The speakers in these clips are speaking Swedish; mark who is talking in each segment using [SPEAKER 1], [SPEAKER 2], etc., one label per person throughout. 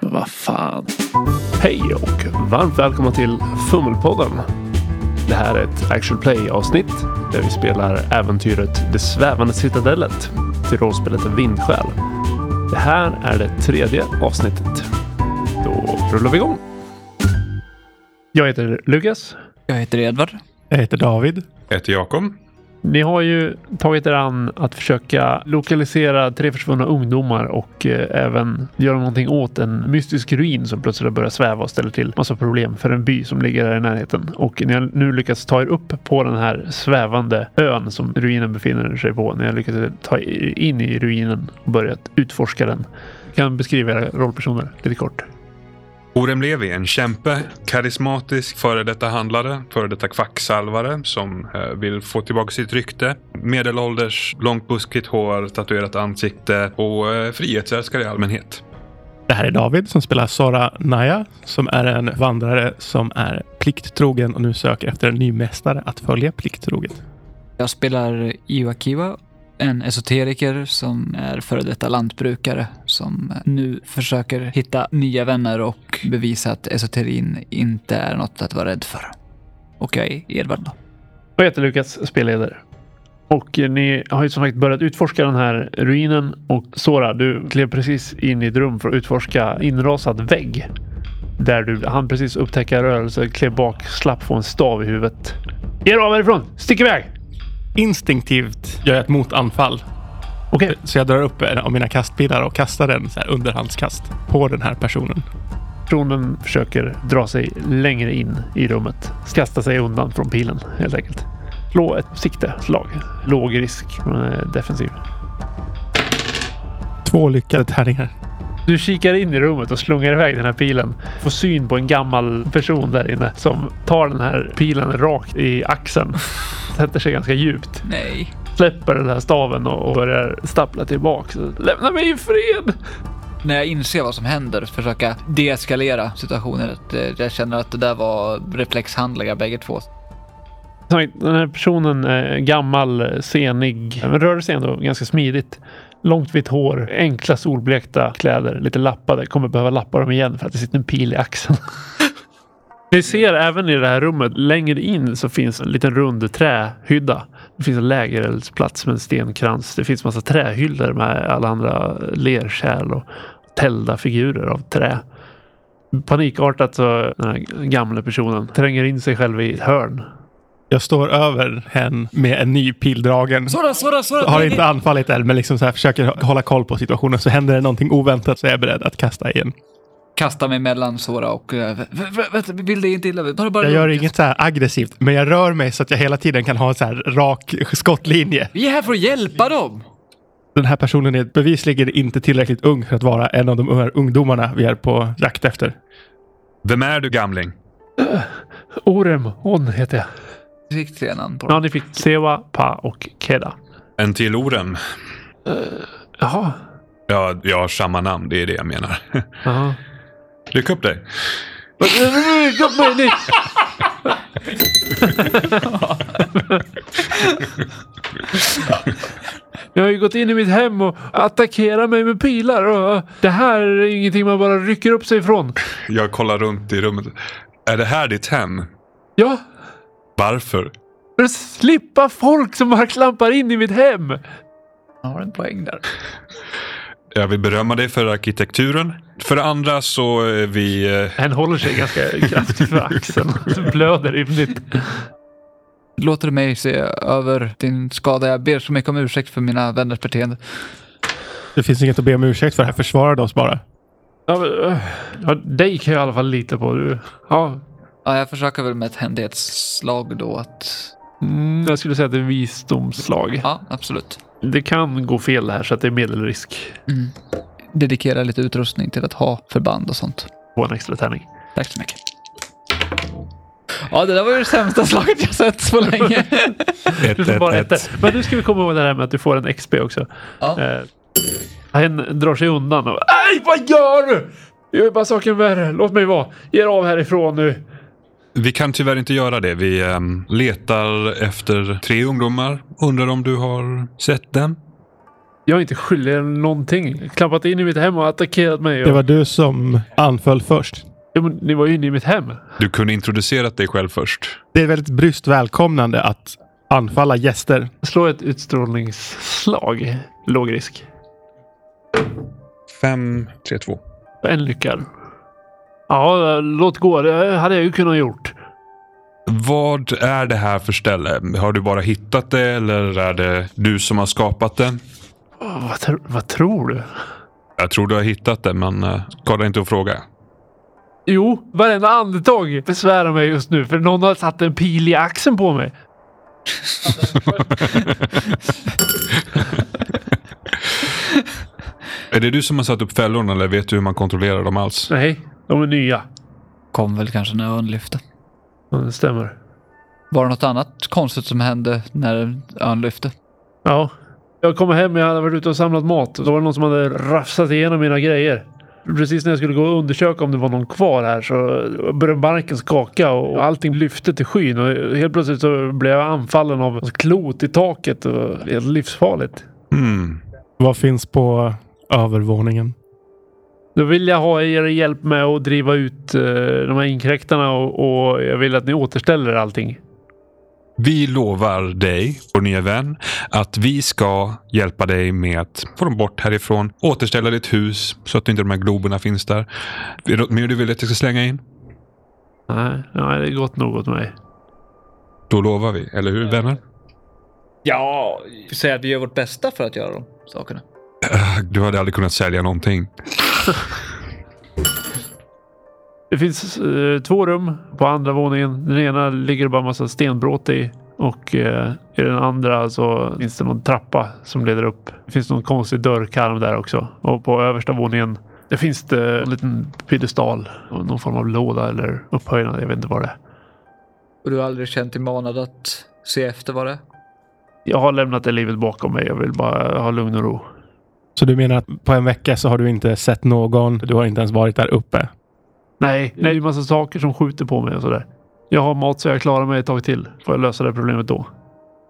[SPEAKER 1] Vad fan.
[SPEAKER 2] Hej och varmt välkomna till Fummelpodden. Det här är ett actual play-avsnitt där vi spelar äventyret Det svävande citadellet till rollspelet Vindsjäl. Det här är det tredje avsnittet. Då rullar vi igång. Jag heter Lukas.
[SPEAKER 1] Jag heter Edvard.
[SPEAKER 3] Jag heter David.
[SPEAKER 4] Jag heter Jakob.
[SPEAKER 2] Ni har ju tagit er an att försöka lokalisera tre försvunna ungdomar och eh, även göra någonting åt en mystisk ruin som plötsligt börjar sväva och ställer till massa problem för en by som ligger där i närheten. Och ni har nu lyckats ta er upp på den här svävande ön som ruinen befinner sig på. Ni har lyckats ta er in i ruinen och börjat utforska den. Kan beskriva era rollpersoner lite kort.
[SPEAKER 4] Orem Levi, en kämpe, karismatisk före detta handlare, före detta kvacksalvare som eh, vill få tillbaka sitt rykte. Medelålders, långt buskigt hår, tatuerat ansikte och eh, frihetsälskare i allmänhet.
[SPEAKER 3] Det här är David som spelar Sara Naya som är en vandrare som är plikttrogen och nu söker efter en ny mästare att följa plikttroget.
[SPEAKER 5] Jag spelar Iwakiwa, en esoteriker som är före detta lantbrukare som nu försöker hitta nya vänner och bevisa att esoterin inte är något att vara rädd för. Och jag är Edvard då.
[SPEAKER 2] Jag heter Lukas, spelledare. Och eh, ni har ju som sagt börjat utforska den här ruinen. Och Sora, du klev precis in i ett rum för att utforska inrasad vägg. Där du han precis upptäcka rörelse, klev bak, slapp få en stav i huvudet. Ge er av härifrån! Stick iväg!
[SPEAKER 3] Instinktivt gör jag ett motanfall.
[SPEAKER 2] Okej,
[SPEAKER 3] Så jag drar upp en av mina kastpilar och kastar den så här underhandskast på den här personen.
[SPEAKER 2] personen försöker dra sig längre in i rummet. Kasta sig undan från pilen helt enkelt. Slå ett sikte, slag. Låg risk, men eh, defensiv.
[SPEAKER 3] Två lyckade tärningar.
[SPEAKER 2] Du kikar in i rummet och slungar iväg den här pilen. Får syn på en gammal person där inne som tar den här pilen rakt i axeln. Sätter sig ganska djupt.
[SPEAKER 5] Nej.
[SPEAKER 2] Släpper den här staven och och börjar stappla tillbaks. Lämna mig i fred!
[SPEAKER 5] När jag inser vad som händer, försöka deeskalera situationen. Att, eh, Jag känner att det där var reflexhandlingar bägge två.
[SPEAKER 2] Som sagt, Den här personen är gammal, senig, men rör sig ändå ganska smidigt. Långt vitt hår, enkla solblekta kläder, lite lappade. Kommer behöva lappa dem igen för att det sitter en pil i axeln. Ni ser även i det här rummet, längre in så finns en liten rund trähydda. Det finns en lägereldsplats med en stenkrans. Det finns massa trähyllor med alla andra lerkärl och tällda figurer av trä. Panikartat så den här gamla personen tränger in sig själv i ett hörn
[SPEAKER 3] Jag står över hen med en ny pil dragen.
[SPEAKER 5] Sora, Sora, Sora!
[SPEAKER 3] Har
[SPEAKER 5] nej,
[SPEAKER 3] inte
[SPEAKER 5] nej.
[SPEAKER 3] anfallit än, men liksom så här försöker hålla koll på situationen. Så händer det någonting oväntat så är jag beredd att kasta igen.
[SPEAKER 5] Kasta mig mellan Sora och... eh, vä- vä- Vänta, vill det inte illa? Ta det bara
[SPEAKER 3] Jag gör
[SPEAKER 5] lugnt.
[SPEAKER 3] inget så här aggressivt, men jag rör mig så att jag hela tiden kan ha en så här rak skottlinje.
[SPEAKER 5] Vi är här för att hjälpa dem!
[SPEAKER 3] Den här personen är bevisligen inte tillräckligt ung för att vara en av de här ungdomarna vi är på jakt efter.
[SPEAKER 4] Vem är du gamling?
[SPEAKER 2] Orem, hon heter jag.
[SPEAKER 5] Fick tre namn på dem.
[SPEAKER 2] Ja, ni fick Sewa, Pa och Keda.
[SPEAKER 4] En till Orem.
[SPEAKER 2] Jaha.
[SPEAKER 4] Ja, jag har samma namn, det är det jag menar.
[SPEAKER 2] Jaha.
[SPEAKER 4] Ryck upp dig.
[SPEAKER 2] Ni har ju gått in i mitt hem och attackerat mig med pilar. Och det här är ingenting man bara rycker upp sig ifrån.
[SPEAKER 4] Jag kollar runt i rummet. Är det här ditt hem?
[SPEAKER 2] Ja,
[SPEAKER 4] Varför?
[SPEAKER 2] för att slippa folk som bara klampar in i mitt hem.
[SPEAKER 5] Han har en poäng där.
[SPEAKER 4] Jag vill berömma dig för arkitekturen. För det andra så är vi... eh,
[SPEAKER 2] Han håller sig ganska kraftigt för axeln. Blöder ymnigt.
[SPEAKER 5] Låter du mig se över din skada? Jag ber så mycket om ursäkt för mina vänners beteende.
[SPEAKER 3] Det finns inget att be om ursäkt för, här försvarade oss bara.
[SPEAKER 2] Ja, men, eh, ja, dig kan jag i alla fall lita på. Du. Ja,
[SPEAKER 5] Ja, jag försöker väl med ett händighetsslag då att...
[SPEAKER 2] mm, jag skulle säga att det är visdomsslag.
[SPEAKER 5] Ja, absolut.
[SPEAKER 2] Det kan gå fel här så att det är medelrisk
[SPEAKER 5] Dedikera lite utrustning till att ha förband och sånt.
[SPEAKER 2] på en extra tärning.
[SPEAKER 5] Tack så mycket. Ja, det där var ju det sämsta slaget jag sett på länge.
[SPEAKER 2] Du får bara ett. där. Men nu ska vi komma ihåg det här med att du får en XP också.
[SPEAKER 5] Ja.
[SPEAKER 2] Eh, han drar sig undan och... Aj, vad gör du? Jag gör bara saken värre. Låt mig vara. Ge er av härifrån nu.
[SPEAKER 4] Vi kan tyvärr inte göra det. Vi ehm, letar efter tre ungdomar. Undrar om du har sett dem?
[SPEAKER 2] Jag är inte skyldig er någonting. Klampat in i mitt hem och attackerat mig.
[SPEAKER 3] Det
[SPEAKER 2] Och,
[SPEAKER 3] var du som anföll först.
[SPEAKER 2] Ja, men Ni var ju inne i mitt hem.
[SPEAKER 4] Du kunde introducerat dig själv först.
[SPEAKER 3] Det är väldigt bryskt välkomnande att anfalla gäster.
[SPEAKER 2] Slå ett utstrålningsslag. Låg risk.
[SPEAKER 4] Fem, tre, två.
[SPEAKER 2] En lyckad. Ja, låt gå. Det hade jag ju kunnat gjort.
[SPEAKER 4] Vad är det här för ställe? Har du bara hittat det eller är det du som har skapat det?
[SPEAKER 2] Åh, vad, tr- vad tror du?
[SPEAKER 4] Jag tror du har hittat det, men eh, skada inte att fråga.
[SPEAKER 2] Jo, varenda andetag besvärar mig just nu för någon har satt en pil i axeln på mig.
[SPEAKER 4] Är det du som har satt upp fällorna eller vet du hur man kontrollerar dem alls?
[SPEAKER 2] Nej, de är nya.
[SPEAKER 5] Kom väl kanske när ön lyfte.
[SPEAKER 2] Ja, Det stämmer.
[SPEAKER 5] Var det något annat konstigt som hände när ön lyfte?
[SPEAKER 2] Ja. Jag kom hem och jag hade varit ute och samlat mat. Då var det någon som hade rafsat igenom mina grejer. Precis när jag skulle gå och undersöka om det var någon kvar här så började marken skaka och allting lyfte till skyn. Och helt plötsligt så blev jag anfallen av ett klot i taket. Och det är helt livsfarligt.
[SPEAKER 4] Hmm.
[SPEAKER 3] Vad finns på övervåningen?
[SPEAKER 2] Då vill jag ha er hjälp med att driva ut eh, de här inkräktarna och, och jag vill att ni återställer allting.
[SPEAKER 4] Vi lovar dig, vår nya vän, att vi ska hjälpa dig med att få dem bort härifrån, återställa ditt hus så att inte de här globerna finns där. Är det något mer du vill att jag ska slänga in?
[SPEAKER 2] Nej, nej det är gott nog åt mig.
[SPEAKER 4] Då lovar vi, eller hur vänner?
[SPEAKER 1] Ja, vi får säga att vi gör vårt bästa för att göra de sakerna.
[SPEAKER 4] Ah, Du hade aldrig kunnat sälja någonting.
[SPEAKER 2] Det finns eh, två rum på andra våningen. Den ena ligger det bara en massa stenbråte i. Och eh, i den andra så finns det någon trappa som leder upp. Det finns någon konstig dörrkarm där också. Och på översta våningen det finns det en liten piedestal. och Någon form av låda eller upphöjnad. Jag vet inte vad det är.
[SPEAKER 1] Och du har aldrig känt dig manad att se efter vad det är?
[SPEAKER 2] Jag har lämnat det livet bakom mig. Jag vill bara ha lugn och ro.
[SPEAKER 3] Så du menar att på en vecka så har du inte sett någon? Du har inte ens varit där uppe?
[SPEAKER 2] Nej, nej, det är ju massa saker som skjuter på mig och sådär. Jag har mat så jag klarar mig ett tag till. Får jag lösa det här problemet då.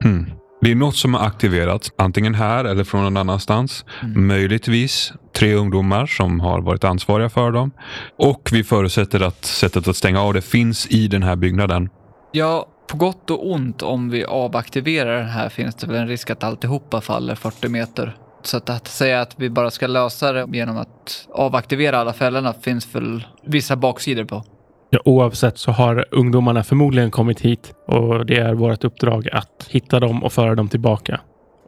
[SPEAKER 4] Hmm. Det är något som har aktiverats, antingen här eller från någon annanstans. Möjligtvis tre ungdomar som har varit ansvariga för dem. Och vi förutsätter att sättet att stänga av det finns i den här byggnaden.
[SPEAKER 5] Ja, på gott och ont om vi avaktiverar den här finns det väl en risk att alltihopa faller 40 meter. Så att, att säga att vi bara ska lösa det genom att avaktivera alla fällorna finns väl vissa baksidor på.
[SPEAKER 3] Ja, oavsett så har ungdomarna förmodligen kommit hit och det är vårt uppdrag att hitta dem och föra dem tillbaka.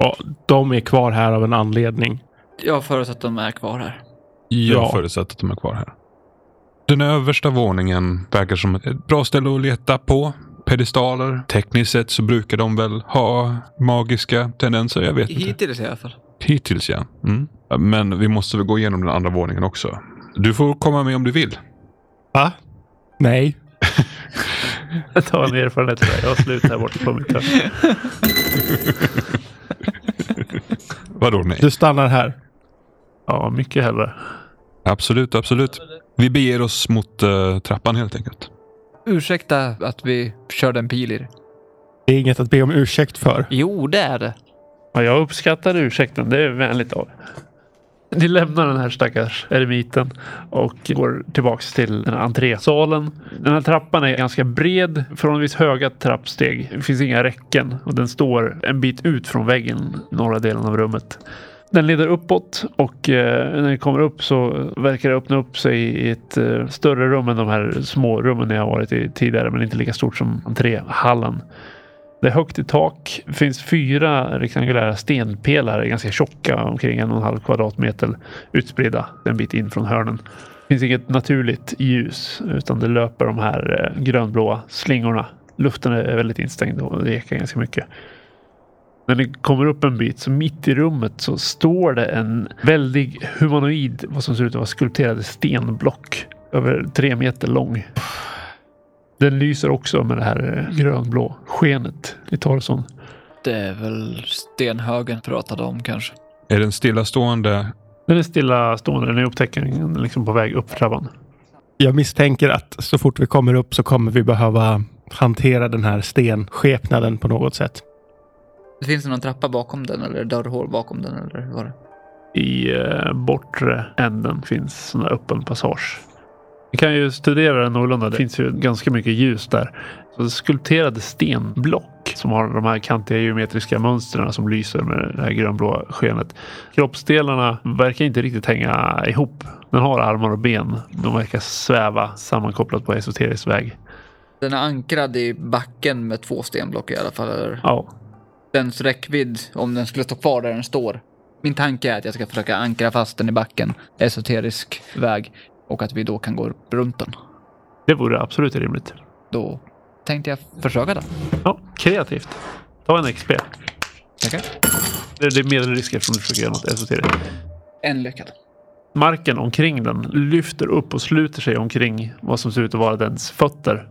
[SPEAKER 3] Och de är kvar här av en anledning.
[SPEAKER 5] Jag förutsätter att de är kvar här.
[SPEAKER 4] Jag
[SPEAKER 3] Ja.
[SPEAKER 4] förutsätter att de är kvar här. Den översta våningen verkar som ett bra ställe att leta på. Pedestaler. Tekniskt sett så brukar de väl ha magiska tendenser. Jag vet inte.
[SPEAKER 5] Hittills i alla fall.
[SPEAKER 4] Hittills ja. Mm. Men vi måste väl gå igenom den andra våningen också. Du får komma med om du vill.
[SPEAKER 3] Va? Nej.
[SPEAKER 2] Jag tar en erfarenhet för det. Jag har slut här borta på mitt hörn.
[SPEAKER 4] Vadå nej?
[SPEAKER 3] Du stannar här.
[SPEAKER 2] Ja, mycket hellre.
[SPEAKER 4] Absolut, absolut. Vi beger oss mot eh, trappan helt enkelt.
[SPEAKER 5] Ursäkta att vi körde en pil i det.
[SPEAKER 3] Det är inget att be om ursäkt för.
[SPEAKER 5] Jo, det är det.
[SPEAKER 2] Ja, jag uppskattar ursäkten. Det är vänligt av er. Ni lämnar den här stackars eremiten och går tillbaks till den här entrésalen. Den här trappan är ganska bred, förhållandevis höga trappsteg. Det finns inga räcken och den står en bit ut från väggen, norra delen av rummet. Den leder uppåt och eh, när ni kommer upp så verkar det öppna upp sig i ett eh, större rum än de här små rummen ni har varit i tidigare, men inte lika stort som entréhallen. Det är högt i tak. Det finns fyra rektangulära stenpelare, ganska tjocka, omkring en och en halv kvadratmeter utspridda en bit in från hörnen. Det finns inget naturligt ljus utan det löper de här eh, grönblåa slingorna. Luften är väldigt instängd och det ekar ganska mycket. När ni kommer upp en bit, så mitt i rummet så står det en väldig humanoid, vad som ser ut att vara skulpterade stenblock. Över tre meter lång. Den lyser också med det här eh, grönblå skenet i torson.
[SPEAKER 5] Det är väl stenhögen pratade om kanske.
[SPEAKER 4] Är den stillastående?
[SPEAKER 2] Den är stilla stående. Ni upptäcker den liksom på väg upp för trappan.
[SPEAKER 3] Jag misstänker att så fort vi kommer upp så kommer vi behöva hantera den här stenskepnaden på något sätt.
[SPEAKER 1] Finns det någon trappa bakom den eller dörrhål bakom den eller hur var det?
[SPEAKER 2] I eh, bortre änden finns sån här öppen passage. Vi kan ju studera den någorlunda. Det finns ju ganska mycket ljus där. Så skulpterade stenblock som har de här kantiga geometriska mönstren som lyser med det här grönblåa skenet. Kroppsdelarna verkar inte riktigt hänga ihop. Den har armar och ben. De verkar sväva sammankopplat på esoterisk väg.
[SPEAKER 1] Den är ankrad i backen med två stenblock i alla fall. Eller?
[SPEAKER 2] Ja,
[SPEAKER 1] Dens räckvidd, om den skulle stå kvar där den står. Min tanke är att jag ska försöka ankra fast den i backen, esoterisk väg, och att vi då kan gå upp runt den.
[SPEAKER 2] det vore absolut rimligt.
[SPEAKER 1] Då tänkte jag försöka det.
[SPEAKER 2] Ja, kreativt. Ta en XP.
[SPEAKER 1] Tackar.
[SPEAKER 2] Det det är medelrisk eftersom du försöker göra något esoteriskt.
[SPEAKER 1] En lyckad.
[SPEAKER 2] Marken omkring den lyfter upp och sluter sig omkring vad som ser ut att vara dens fötter.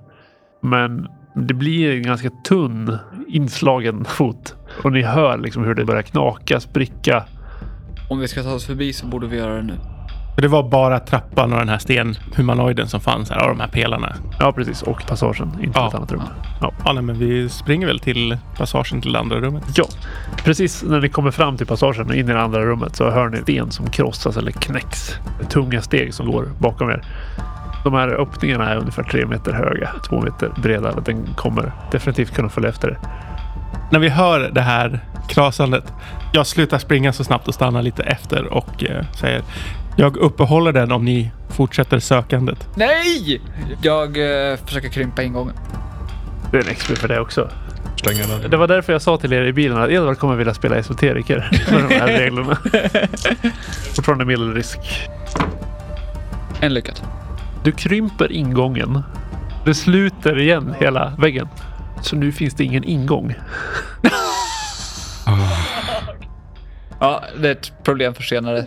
[SPEAKER 2] Men det blir en ganska tunn inslagen fot. Och ni hör liksom hur det börjar knaka, spricka.
[SPEAKER 1] Om vi ska ta oss förbi så borde vi göra det nu.
[SPEAKER 3] För det var bara trappan och den här stenhumanoiden som fanns här, av de här pelarna.
[SPEAKER 2] Ja, precis. Och passagen in till
[SPEAKER 3] Ja.
[SPEAKER 2] ett annat rum.
[SPEAKER 3] Ja, nej, men vi springer väl till passagen till andra rummet.
[SPEAKER 2] Ja, precis när ni kommer fram till passagen och in i det andra rummet så hör ni sten som krossas eller knäcks. Tunga steg som går bakom er. De här öppningarna är ungefär tre meter höga, två meter breda. Den kommer definitivt kunna följa efter er.
[SPEAKER 3] När vi hör det här krasandet, jag slutar springa så snabbt och stannar lite efter och eh, säger jag uppehåller den om ni fortsätter sökandet.
[SPEAKER 1] Nej! Jag eh, försöker krympa ingången.
[SPEAKER 2] Det är en XP för det också.
[SPEAKER 4] Slänga den.
[SPEAKER 2] Det var därför jag sa till er i bilen att Edvard kommer vilja spela esoteriker med de här reglerna. Fortfarande medelrisk.
[SPEAKER 1] En lyckad.
[SPEAKER 2] Du krymper ingången. Du sluter igen hela väggen. Så nu finns det ingen ingång.
[SPEAKER 1] Ja, det är ett problem för senare.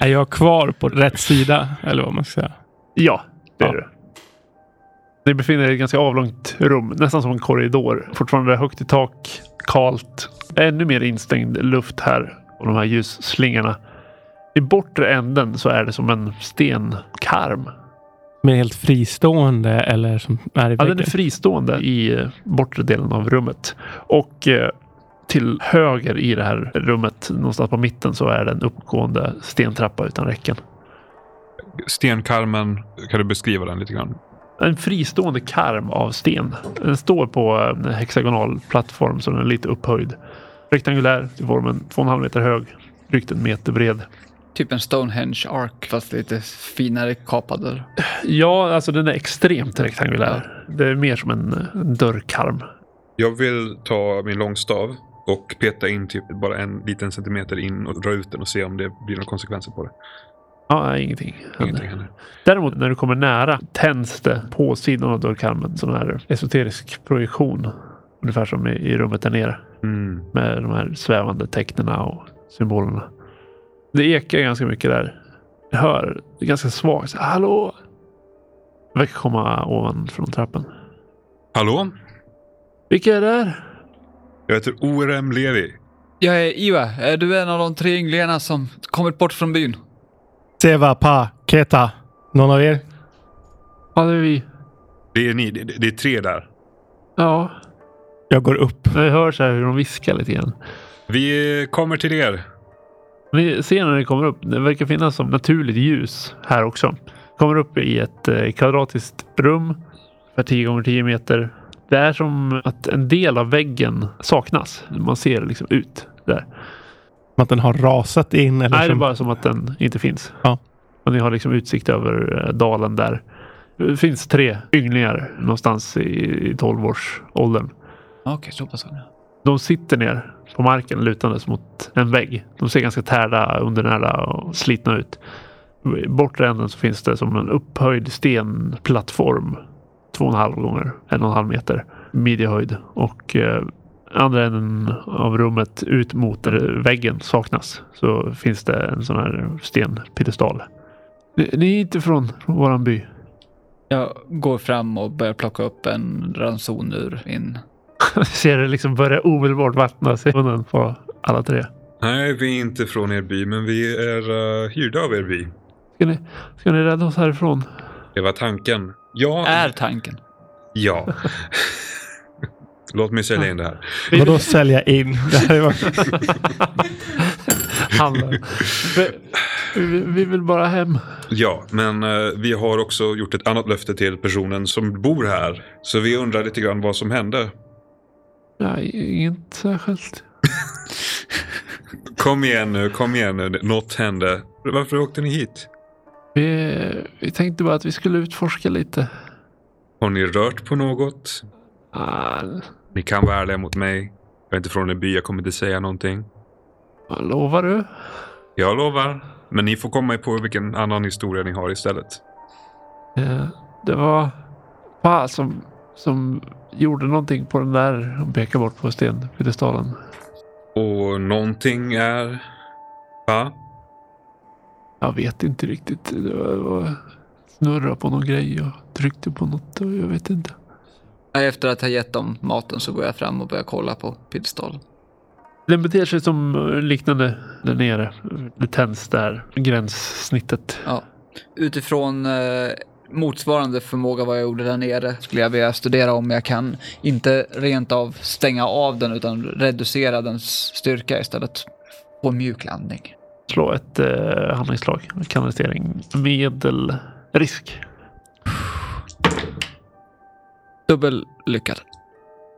[SPEAKER 3] Är jag kvar på rätt sida? Eller vad man ska säga.
[SPEAKER 2] Ja, det är
[SPEAKER 3] Ja.
[SPEAKER 2] du. Ni befinner er i ett ganska avlångt rum, nästan som en korridor. Fortfarande högt i tak, kalt. Ännu mer instängd luft här och de här ljusslingorna. I bortre änden så är det som en stenkarm.
[SPEAKER 3] Men helt fristående eller som är i
[SPEAKER 2] Ja,
[SPEAKER 3] väggen?
[SPEAKER 2] den är fristående i eh, bortre delen av rummet. Och eh, till höger i det här rummet, någonstans på mitten, så är det en uppgående stentrappa utan räcken.
[SPEAKER 4] Stenkarmen, kan du beskriva den lite grann?
[SPEAKER 2] En fristående karm av sten. Den står på en hexagonal plattform så den är lite upphöjd. Rektangulär i formen, 2,5 meter hög, drygt en meter bred.
[SPEAKER 1] Typ en Stonehenge Ark, fast lite finare kapad. eller?
[SPEAKER 2] Ja, alltså den är extremt rektangulär. Det är mer som en, eh, en dörrkarm.
[SPEAKER 4] Jag vill ta min långstav och peta in typ bara en liten centimeter in och dra ut den och se om det blir några konsekvenser på det.
[SPEAKER 2] Ja, ingenting. händer.
[SPEAKER 4] Ingenting händer.
[SPEAKER 2] Däremot när du kommer nära tänds det på sidan av dörrkarmen sån här esoterisk projektion. Ungefär som i, i rummet där nere
[SPEAKER 4] Mm.
[SPEAKER 2] med de här svävande tecknena och symbolerna. Det ekar ganska mycket där. Jag hör det är ganska svagt. Så, Hallå! Det verkar komma ovan från trappen.
[SPEAKER 4] Hallå?
[SPEAKER 2] Vilka är det där?
[SPEAKER 4] Jag heter ORM Levi.
[SPEAKER 5] Jag är Iva. Är du en av de tre ynglingarna som kommit bort från byn?
[SPEAKER 3] Seva, pa, keta. Någon av er?
[SPEAKER 2] Ja, det är vi.
[SPEAKER 4] Det är ni, det, det är tre där.
[SPEAKER 2] Ja.
[SPEAKER 3] Jag går upp.
[SPEAKER 2] Jag hör så här hur de viskar lite grann.
[SPEAKER 4] Vi kommer till er.
[SPEAKER 2] Ni ser när ni kommer upp, det verkar finnas som naturligt ljus här också. Kommer upp i ett eh, kvadratiskt rum, för 10 gånger 10 meter. Det är som att en del av väggen saknas. Man ser liksom ut där.
[SPEAKER 3] Som Att den har rasat in eller
[SPEAKER 2] Nej, det är
[SPEAKER 3] som...
[SPEAKER 2] bara som att den inte finns.
[SPEAKER 3] Ja.
[SPEAKER 2] Och ni har liksom utsikt över eh, dalen där. Det finns tre ynglingar någonstans i, i 12-årsåldern.
[SPEAKER 5] Okej, så pass.
[SPEAKER 2] De sitter ner på marken lutandes mot en vägg. De ser ganska tärda, undernärda och slitna ut. I bortre änden så finns det som en upphöjd stenplattform. Två och en halv gånger en och en halv meter midjehöjd. Och eh, andra änden av rummet ut mot eh, väggen saknas. Så finns det en sån här stenpiedestal. Ni, ni är inte från, från våran by.
[SPEAKER 5] Jag går fram och börjar plocka upp en ranson ur min...
[SPEAKER 2] Ni ser det liksom börja omedelbart vattnas i munnen på alla tre.
[SPEAKER 4] Nej, vi är inte från er by, men vi är eh, hyrda av er by.
[SPEAKER 2] Ska ni, ska ni rädda oss härifrån?
[SPEAKER 4] Det var tanken. Ja.
[SPEAKER 5] Är tanken.
[SPEAKER 4] Ja. Låt mig sälja in det här.
[SPEAKER 3] Vadå sälja in? Det här var...
[SPEAKER 2] Handlar. Vi, vi vill bara hem.
[SPEAKER 4] Ja, men eh, vi har också gjort ett annat löfte till personen som bor här. Så vi undrar lite grann vad som hände.
[SPEAKER 2] Nej, inte särskilt.
[SPEAKER 4] Kom igen nu, kom igen nu. Något hände. Varför åkte ni hit?
[SPEAKER 2] Vi, vi tänkte bara att vi skulle utforska lite.
[SPEAKER 4] Har ni rört på något?
[SPEAKER 2] Ah,
[SPEAKER 4] Ni kan vara ärliga mot mig. Jag är inte från en by, jag kommer inte säga någonting.
[SPEAKER 2] vad lovar du?
[SPEAKER 4] Jag lovar. Men ni får komma på vilken annan historia ni har istället.
[SPEAKER 2] Eh, Det var Pa som, som gjorde någonting på den där. Hon pekar bort på stenpiedestalen.
[SPEAKER 4] Och någonting är... Va?
[SPEAKER 2] Jag vet inte riktigt. Det var, det var snurra på någon grej och tryckte på något. Och jag vet inte.
[SPEAKER 5] Efter att ha gett dem maten så går jag fram och börjar kolla på piedestalen.
[SPEAKER 2] Den beter sig som liknande där nere. Det tänds där gränssnittet.
[SPEAKER 5] Ja. Utifrån eh, motsvarande förmåga vad jag gjorde där nere skulle jag vilja studera om jag kan inte rent av stänga av den utan reducera dens styrka istället. På en mjuk landning.
[SPEAKER 2] Slå ett eh, handlingsslag. Kanalisering. Medelrisk.
[SPEAKER 5] Dubbel lyckad.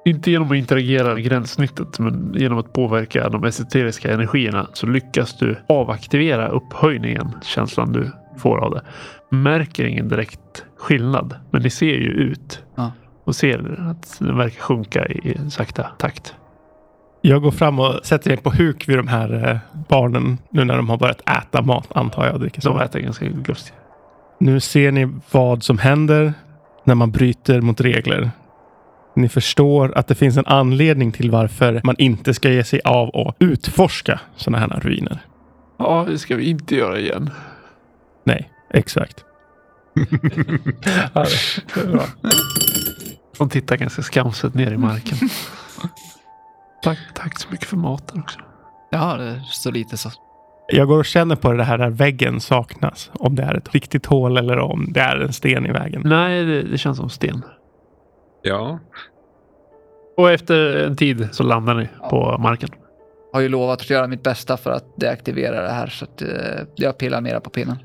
[SPEAKER 2] Inte genom att interagera med gränssnittet, men genom att påverka de esoteriska energierna så lyckas du avaktivera upphöjningen, känslan du får av det. Märker ingen direkt skillnad, men ni ser ju ut
[SPEAKER 5] Ja.
[SPEAKER 2] och ser att den verkar sjunka i sakta takt.
[SPEAKER 3] Jag går fram och sätter mig på huk vid de här eh, barnen nu när de har börjat äta mat antar jag. och Dricker
[SPEAKER 2] De
[SPEAKER 3] så.
[SPEAKER 2] äter ganska glufsigt.
[SPEAKER 3] Nu ser ni vad som händer när man bryter mot regler. Ni förstår att det finns en anledning till varför man inte ska ge sig av och utforska sådana här ruiner.
[SPEAKER 2] Ja, det ska vi inte göra igen.
[SPEAKER 3] Nej, exakt.
[SPEAKER 2] Ja, det är bra. De tittar ganska skamset ner i marken. Tack, tack så mycket för maten också.
[SPEAKER 5] Ja, det står lite så.
[SPEAKER 3] Jag går och känner på det här där väggen saknas. Om det är ett riktigt hål eller om det är en sten i vägen.
[SPEAKER 2] Nej, det, det känns som sten.
[SPEAKER 4] Ja.
[SPEAKER 2] Och efter en tid så landar ni på marken.
[SPEAKER 5] Har ju lovat att göra mitt bästa för att deaktivera det här så att eh, jag pillar mera på pinnen.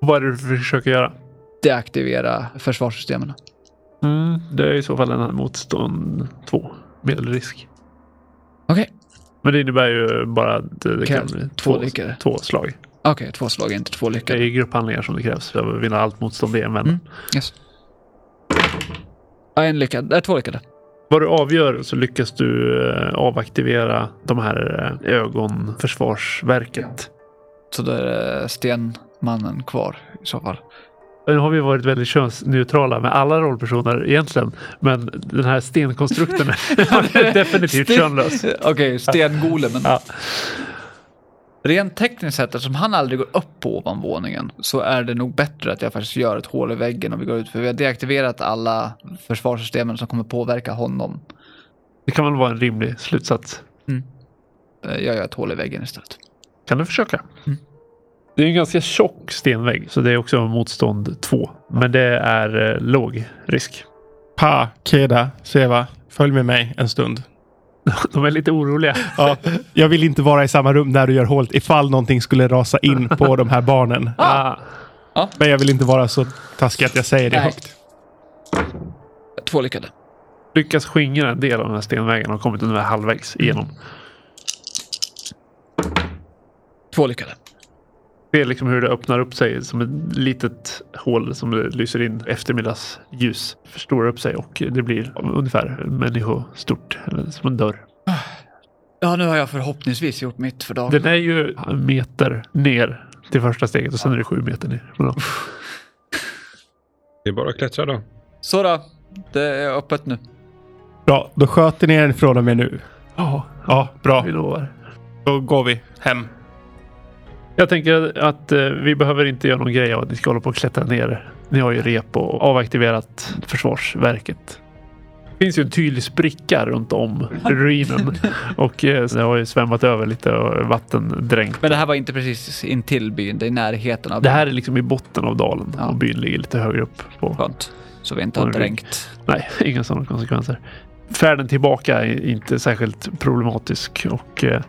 [SPEAKER 2] Vad är det du försöker göra?
[SPEAKER 5] Deaktivera försvarssystemen.
[SPEAKER 2] Mm, det är i så fall en motstånd 2, medelrisk.
[SPEAKER 5] Okej,
[SPEAKER 2] Men det innebär ju bara att det det kan
[SPEAKER 5] Krävs
[SPEAKER 2] bli
[SPEAKER 5] två
[SPEAKER 2] två,
[SPEAKER 5] lyckade.
[SPEAKER 2] två slag.
[SPEAKER 5] okej, två slag är inte två
[SPEAKER 2] Det är
[SPEAKER 5] lyckade.
[SPEAKER 2] ju grupphandlingar som det krävs för att vinna allt motstånd i en vända.
[SPEAKER 5] Mm. Yes. Ja, en lyckad. Det är två lyckade.
[SPEAKER 2] Vad du avgör så lyckas du eh, avaktivera de här eh, ögonförsvarsverket.
[SPEAKER 5] Så då är det stenmannen kvar i så fall.
[SPEAKER 2] Nu har vi varit väldigt könsneutrala med alla rollpersoner egentligen. Men den här stenkonstrukten är definitivt
[SPEAKER 5] Sten-
[SPEAKER 2] könlös.
[SPEAKER 5] Okej, stengolemen.
[SPEAKER 2] Ja.
[SPEAKER 5] Rent tekniskt sett, eftersom han aldrig går upp på ovanvåningen, så är det nog bättre att jag faktiskt gör ett hål i väggen och vi går ut. För vi har deaktiverat alla försvarssystemen som kommer påverka honom.
[SPEAKER 2] Det kan väl vara en rimlig slutsats.
[SPEAKER 5] Eh, Jag gör ett hål i väggen istället.
[SPEAKER 2] Kan du försöka? Det är en ganska tjock stenvägg, så det är också motstånd 2. Men det är eh, låg risk.
[SPEAKER 3] Pa, Keda, Seva, följ med mig en stund.
[SPEAKER 2] De är lite oroliga.
[SPEAKER 3] Ja, jag vill inte vara i samma rum när du gör hålet ifall någonting skulle rasa in på de här barnen.
[SPEAKER 2] Ah.
[SPEAKER 3] Men jag vill inte vara så taskig att jag säger det
[SPEAKER 5] Nej.
[SPEAKER 3] högt.
[SPEAKER 5] Två lyckade.
[SPEAKER 2] Lyckas skingra en del av den här stenväggen och har kommit ungefär halvvägs igenom.
[SPEAKER 5] Två lyckade.
[SPEAKER 2] Det är liksom hur det öppnar upp sig som ett litet hål som det lyser in eftermiddagsljus. Förstorar upp sig och det blir ungefär människostort, eller som en dörr.
[SPEAKER 5] Ja, nu har jag förhoppningsvis gjort mitt för dagen.
[SPEAKER 2] Den är ju en meter ner till första steget och sen är det sju meter ner. Ja.
[SPEAKER 4] Det är bara att klättra då.
[SPEAKER 5] Så då, det är öppet nu.
[SPEAKER 3] Bra, då sköter ni er från och med nu.
[SPEAKER 2] Ja,
[SPEAKER 3] Ja, bra.
[SPEAKER 2] vi lovar.
[SPEAKER 3] Då går vi hem.
[SPEAKER 2] Jag tänker att eh, vi behöver inte göra någon grej av att ni ska hålla på och klättra ner. Ni har ju rep och avaktiverat Försvarsverket. Det finns ju en tydlig spricka runt om ruinen och eh, det har ju svämmat över lite och vattendränkt.
[SPEAKER 5] Men det här var inte precis intill byn, det är i närheten av
[SPEAKER 2] Det
[SPEAKER 5] byn.
[SPEAKER 2] här är liksom i botten av dalen
[SPEAKER 5] Ja.
[SPEAKER 2] och byn ligger lite högre upp. På.
[SPEAKER 5] Skönt. Så vi inte har
[SPEAKER 2] Oj.
[SPEAKER 5] dränkt.
[SPEAKER 2] Nej, inga sådana konsekvenser. Färden tillbaka är inte särskilt problematisk och eh,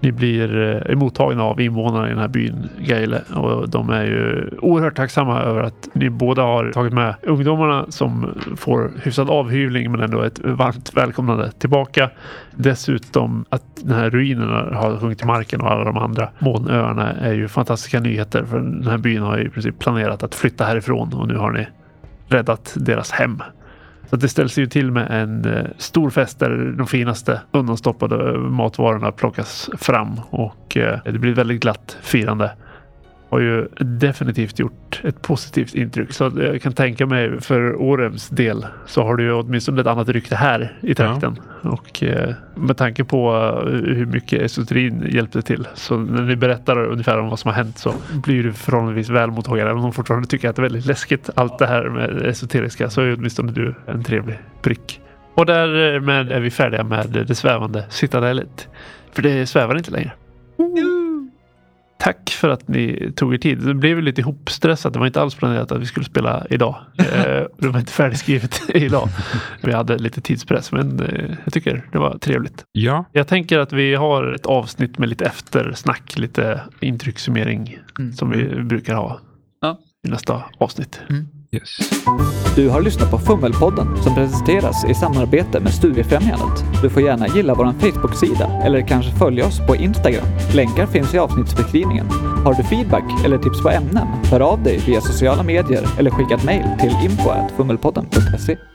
[SPEAKER 2] ni blir eh, mottagna av invånarna i den här byn Gaile och de är ju oerhört tacksamma över att ni båda har tagit med ungdomarna som får hyfsad avhyvling men ändå ett varmt välkomnande tillbaka. Dessutom att den här ruinerna har sjunkit till marken och alla de andra månöarna är ju fantastiska nyheter för den här byn har ju i princip planerat att flytta härifrån och nu har ni räddat deras hem. Så att det ställs ju till med en eh, stor fest där de finaste undanstoppade matvarorna plockas fram och eh, det blir ett väldigt glatt firande. Har ju definitivt gjort ett positivt intryck så att jag kan tänka mig för Orems del så har du ju åtminstone ett annat rykte här i trakten. Och eh, med tanke på eh, hur mycket esoterin hjälpte till så när ni berättar ungefär om vad som har hänt så blir du förhållandevis väl mottagen. Även om de fortfarande tycker att det är väldigt läskigt allt det här med det esoteriska så är ju åtminstone du en trevlig prick. Och därmed är vi färdiga med det svävande citadellet. För det svävar inte längre. Tack för att ni tog er tid. Det blev ju lite ihopstressat. Det var inte alls planerat att vi skulle spela idag. Eh, Det var inte färdigskrivet idag. Vi hade lite tidspress, men eh, jag tycker det var trevligt.
[SPEAKER 4] Ja,
[SPEAKER 2] Jag tänker att vi har ett avsnitt med lite eftersnack, lite intryckssummering som vi brukar ha
[SPEAKER 1] Ja.
[SPEAKER 2] i nästa avsnitt.
[SPEAKER 4] yes.
[SPEAKER 5] Du har lyssnat på Fummelpodden som presenteras i samarbete med Studiefrämjandet. Du får gärna gilla vår Facebook-sida eller kanske följa oss på Instagram. Länkar finns i avsnittsbeskrivningen. Har du feedback eller tips på ämnen? Hör av dig via sociala medier eller skicka ett mejl till info@fummelpodden.se.